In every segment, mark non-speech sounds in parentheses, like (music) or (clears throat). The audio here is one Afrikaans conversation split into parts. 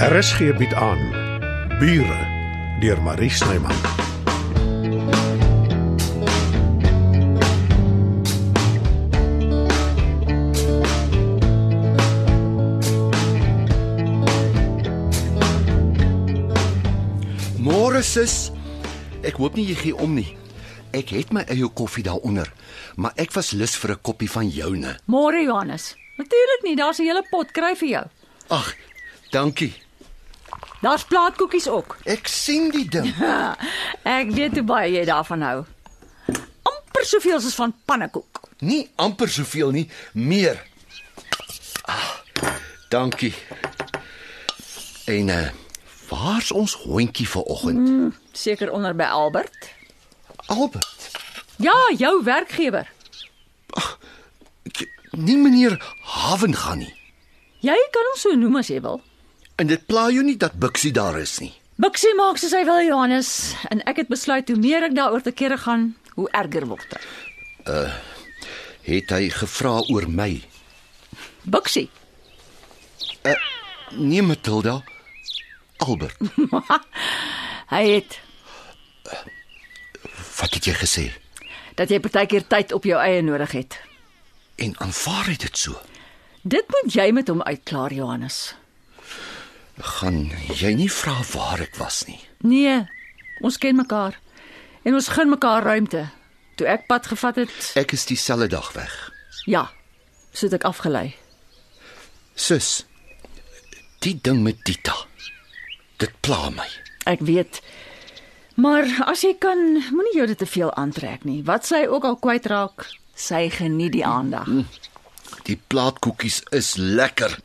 RSG bied aan Bure deur Marie Snyman. Môre sis. Ek hoop nie jy gee om nie. Ek het my eie koffie daaronder, maar ek was lus vir 'n koppie van joune. Môre Johannes. Natuurlik nie, daar's 'n hele pot kry vir jou. Ag, dankie. Daar's plaatkoekies ook. Ek sien die (laughs) ding. Ek weet hoe baie jy daarvan hou. amper soveel soos van pannekoek. Nie amper soveel nie, meer. Ag, dankie. En uh, waar's ons hondjie vanoggend? Mm. Seker onder by Albert. Albert. Ja, jou werkgewer. Ek, nie meneer Haven gaan nie. Jy kan hom so noem as jy wil. En dit pla jou nie dat Bixie daar is nie. Bixie maak soos hy wil Johannes en ek het besluit hoe meer ek daaroor te kere gaan, hoe erger word dit. Het hy gevra oor my? Bixie. Nee, Matilda. Albert. Hy het Wat het jy gesê? dat jy partykeer tyd op jou eie nodig het. En aanvaar hy dit so? Dit moet jy met hom uitklaar Johannes. Gaan jy nie vra waar ek was nie. Nee, ons ken mekaar en ons gun mekaar ruimte. Toe ek pad gevat het, Ek is dieselfde dag weg. ja, soet ek afgelei. Sus. Die ding met Dita. Dit pla my. Ek weet. Maar as jy kan, moenie jou dit te veel aantrek nie. Wat sy ook al kwytraak, sy geniet die aandag. Die plaatkoekies is lekker.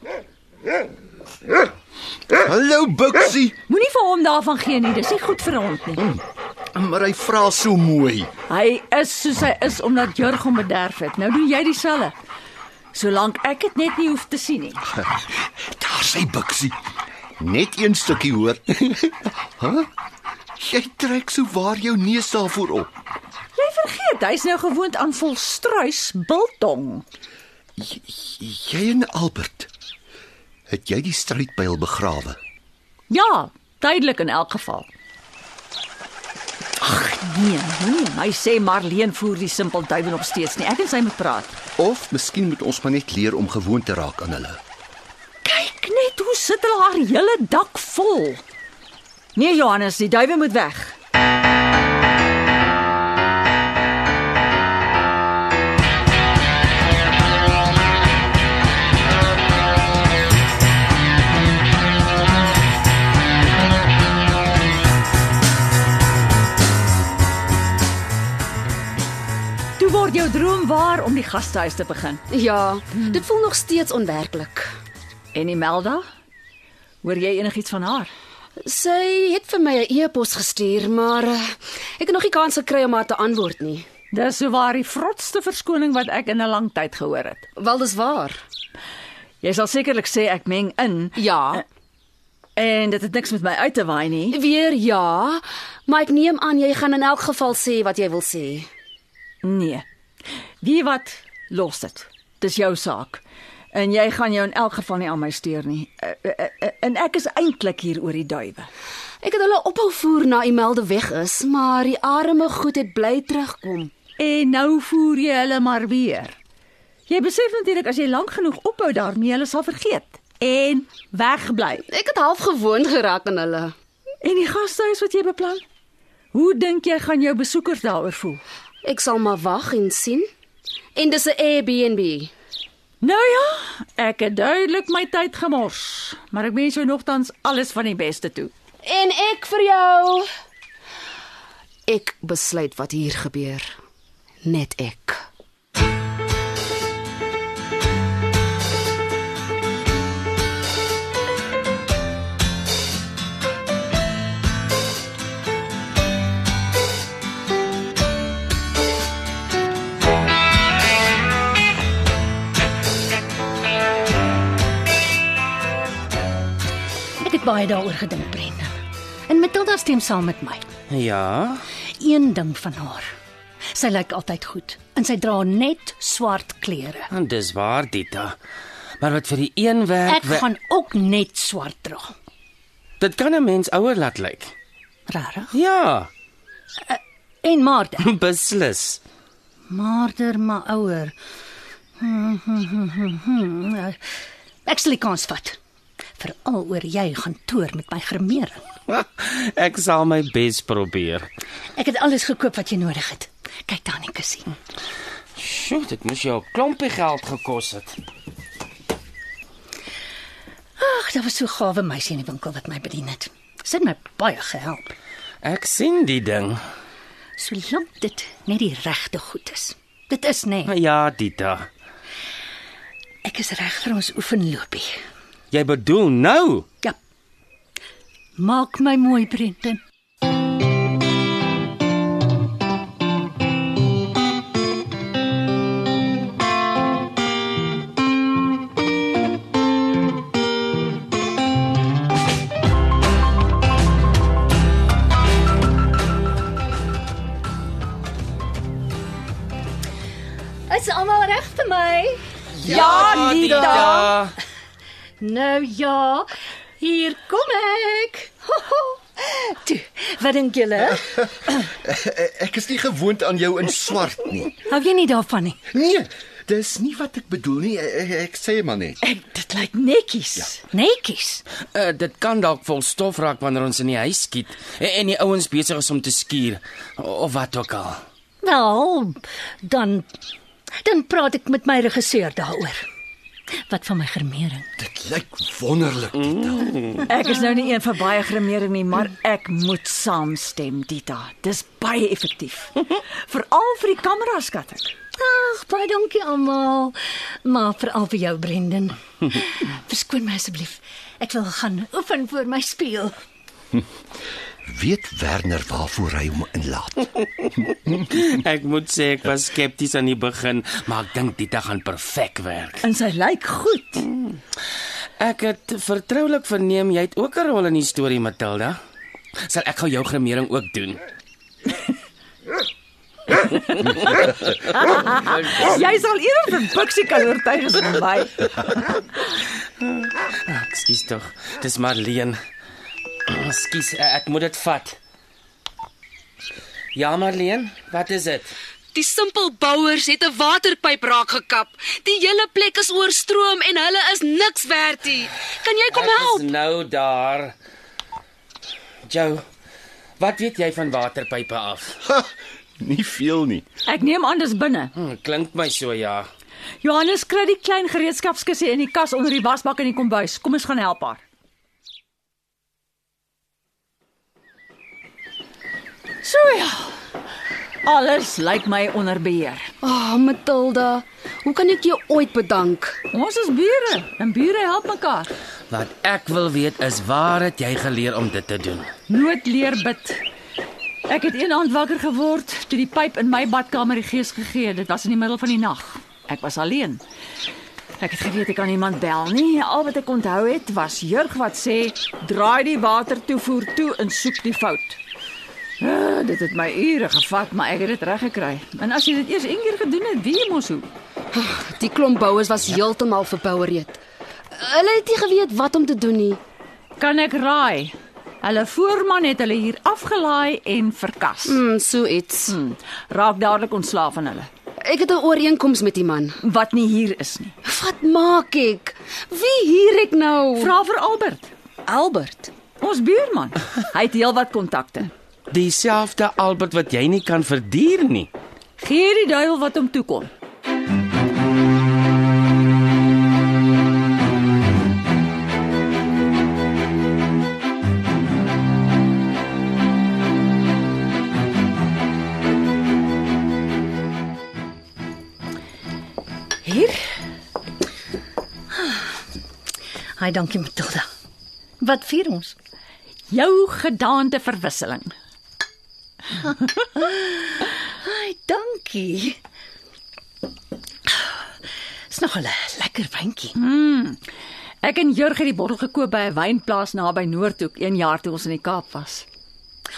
Hallo Buxie, Moenie vir hom daarvan gee nie, dis nie goed vir hom nie. maar hy vra so mooi. Hy is soos hy is omdat Jurg hom bederf het. Nou doen jy dieselfde. Solank ek dit net nie hoef te sien nie. Daar sê Buxie. Net een stukkie (laughs) hoor. Hæ? Jy trek so waar jou neus daarvoor op. Jy vergeet, hy's nou gewoond aan volstruis biltong. J- Jy en Albert. Het jy die strydpyl begrawe? Ja, tydelik in elk geval. Ag nee, nee, hy sê Marleen voer die simpel duiwel nog steeds nie. Ek en sy moet praat. Of miskien moet ons maar net leer om gewoon te raak aan hulle. Kyk net hoe sit hulle haar hele dak vol. Nee Johannes, die duiwel moet weg. Toe word jou droom waar om die gastehuis te begin. Ja, hmm. dit voel nog steeds onwerklik. En Imelda? Hoor jy enigiets van haar? Sy het vir my 'n e-pos gestuur, maar eh, ek het nog nie kans gekry om haar te antwoord nie. Dis sowaar die vrotste verskoning wat ek in 'n lang tyd gehoor het. Wel dis waar. Jy sal sekerlik sê ek meng in Ja, en dit het niks met my uit te waai nie. weer ja, maar ek neem aan jy gaan in elk geval sê wat jy wil sê. Nee. Wie wat los dit. Dis jou saak. En jy gaan jou in elk geval nie aan my steur nie. Eh, eh, eh, En ek is eintlik hier oor die duwe. Ek het hulle ophou voer na Imelde weg is, maar die arme goed het bly terugkom. En nou voer jy hulle maar weer. Jy besef natuurlik as jy lank genoeg ophou daarmee, hulle sal vergeet en wegbly. Ek het half gewoond geraak aan hulle. En die gastehuis wat jy beplan? Hoe dink jy gaan jou besoekers daaroor voel? Ek sal maar wag en sien. En dis 'n Airbnb. Nou ja, ek het duidelik my tyd gemors, maar ek wens jou nogtans alles van die beste toe. En ek vir jou. Ek besluit wat hier gebeur. Net ek. Ek het baie daaroor gedink, Brenda. En Matilda stem saam met my. Ja, Een ding van haar. Sy lyk altyd goed en sy dra net swart klere. en dis waar, Dita. Maar wat vir die een werk Ek gaan ook net swart dra. Dit kan 'n mens ouer laat lyk. Regtig? Ja, (laughs) En Maarten. beslis. (laughs) Maarder maar ouer. Hmm, hmm, hmm, hmm, hmm. Nou, Ek sal die kans vat. Veral oor jy gaan toer met my gremering. Ek sal my bes probeer. Ek het alles gekoop wat jy nodig het. Kyk daar net kussie. Sjoe, dit moes jou 'n klompie geld gekos het. Ag, daar was so gawe meisie in die winkel wat my bedien het. Sy het my baie gehelp. Ek sien die ding. Solank dit net die regte goed is. Dit is nê. Nee. Ja, Dita. Ek is reg vir ons oefenloopie. Jy bedoel nou? Ja. Maak my mooi, Brendan. Is almal reg vir my? Ja, Dita. Nou ja, hier kom ek. Ho, ho. Toe, wat dink julle? e, Ek is nie gewoond aan jou in swart nie. Hou jy nie daarvan nie? Nee, dis nie wat ek bedoel nie. Ek, ek sê maar net. Ek dit lyk netjies. Ja. Netjies. Uh, dit kan dalk vol stof raak wanneer ons in die huis skiet en, en die ouens besig is om te skuur of wat ook al. Wel, dan dan praat ek met my regisseur daaroor. Wat van my gremering? Dit lyk wonderlik. (laughs) Ek is nou nie een vir baie gremering nie, maar ek moet saamstem, Dita. Dis baie (laughs) effektief. Veral vir die kamera skat ek. Ag, baie dankie almal. Maar veral vir jou Brendan. Verskoon my asseblief. Ek wil gaan oefen voor my speel. Weet Werner waarvoor hy hom inlaat? Ek moet sê ek was skepties aan die begin, maar ek dink Dita gaan perfek werk. En sy lyk goed. Ek het vertroulik verneem jy het ook 'n rol in die storie, Matilda. Sal ek gou jou gremering ook doen? Ja. Jy sal eerder vir Bixie kan oortuig as vir my. Ekskuus tog. Dis Marleen. (clears throat) Ekskuus, eh, ek moet dit vat. Ja, Marleen, wat is dit? Die simpelbouers het 'n waterpyp raak gekap. Die hele plek is oorstroom en hulle is niks werd nie. Kan jy kom Ek help? Is nou daar. Jou. Wat weet jy van waterpype af? Ha, nie veel nie. Ek neem aan dis binne. Hm, klink my so ja. Johannes kry die klein gereedskapskissie in die kas onder die wasbak in die kombuis. Kom ons gaan help haar. So ja. Alles lyk my onder beheer. Ah, oh, Matilda, hoe kan ek jou ooit bedank? Ons is bure en bure help mekaar. Wat ek wil weet is waar het jy geleer om dit te doen? Nood leer bid. Ek het een aand wakker geword toe die pyp in my badkamer die gees gegee het. Dit was in die middel van die nag. Ek was alleen. Ek het geweet ek kan niemand bel nie. Al wat ek onthou het was Jurg wat sê: "Draai die watertoevoer toe en soek die fout." Uh, dit het my ure gevat, maar ek het dit reg gekry. En as jy dit eers een keer gedoen het, weet jy mos hoe. Die klomp bouers was heeltemal verboureed. Hulle het nie geweet wat om te doen nie. Kan ek raai? Hulle voorman het hulle hier afgelaai en verkas. Mm, so iets. Hmm, raak dadelik ontslaaf van hulle. Ek het 'n ooreenkoms met die man. wat nie hier is nie. Wat maak ek? Wie hier ek nou? Vra vir Albert, Albert. ons (laughs) buurman. Hy het heelwat kontakte. Dieselfde Albert wat jy nie kan verduur nie. Gee die duiwel wat hom toekom. Hier. Hi, dankie Matilda. Wat vier ons? Jou gedaante verwisseling. Ai, dankie. Dis nog 'n lekker wyntjie. Ek en Jurg het die bottel gekoop by 'n wynplaas naby Noordhoek 1 jaar toe ons in die Kaap was.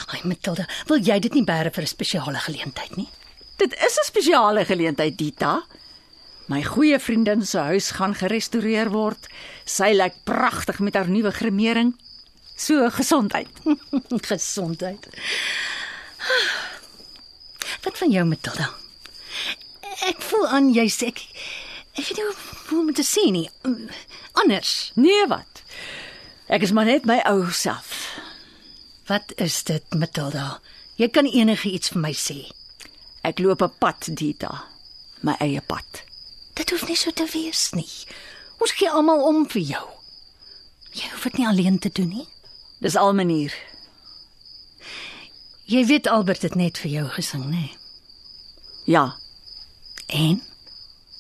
Ai, Matilda, wil jy dit nie bære vir 'n spesiale geleentheid nie? (laughs) Dit is 'n spesiale geleentheid, Dita. My goeie vriendin se huis gaan gerestoreer word. Sy lyk pragtig met haar nuwe gremering. So gesondheid. Gesondheid. Wat van jou, Matilda? Ek voel aan jy sê ek ek weet nie hoe- hoe om dit te sê nie. Ehm, Anders. Nee wat. Ek is maar net my ou self. Wat is dit, Matilda? Jy kan enige iets vir my sê. Ek loop 'n pad, Dita. My eie pad. Dit hoef nie so te wees nie. Ons gee almal om vir jou. Jy hoef dit nie alleen te doen nie. Dis al manier. Jy weet Albert het net vir jou gesing, nê? Ja, En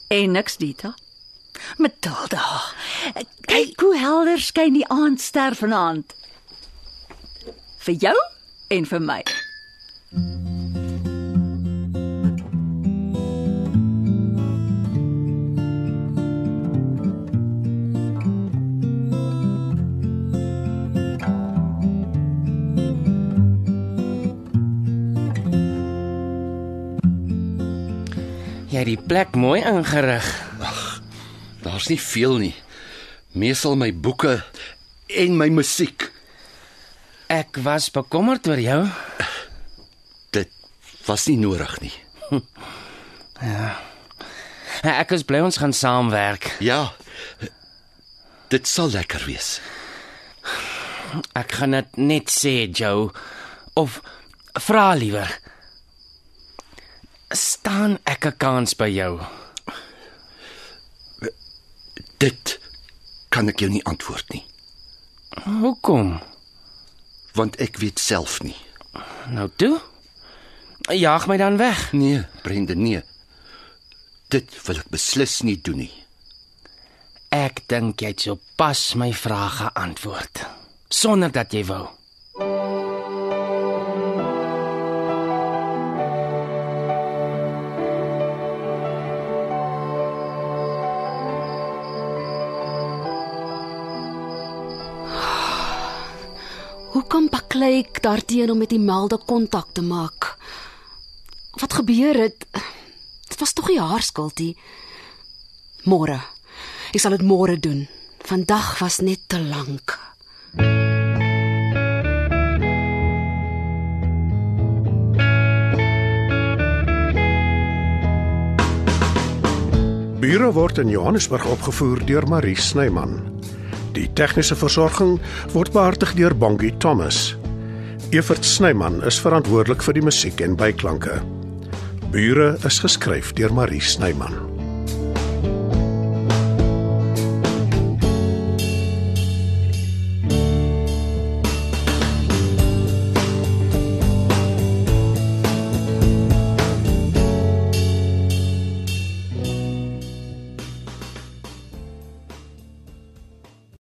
en niks, Dita. Matilda. Kyk hoe helder skyn die aandster vanaand. Vir jou en vir my. Jy het die plek mooi ingerig. Daar's nie veel nie. Meesal my boeke en my musiek. Ek was bekommerd oor jou. Dit was nie nodig nie. Ek is bly ons gaan saamwerk. Ja. Dit sal lekker wees. Ek gaan dit net sê, Joe, of vra liewer. Staan ek 'n kans by jou? Dit kan ek jou nie antwoord nie, Hoekom? want ek weet self nie. Nou toe. Jaag my dan weg. Nee, Brendan, nee. Dit wil ek beslis nie doen nie. Ek dink jy het sopas my vraag geantwoord sonder dat jy wou. Hoekom baklei ek daarteen om met Imelda kontak te maak? Wat gebeur het? Dit was tog nie haar skuld nie. Môre. Ek sal dit môre doen. Vandag was net te lank. Bure word in Johannesburg opgevoer deur Marie Snyman. Die tegniese versorging word behartig deur Bongie Thomas. Evert Snyman is verantwoordelik vir die musiek en byklanke. Bure is geskryf deur Marie Snyman.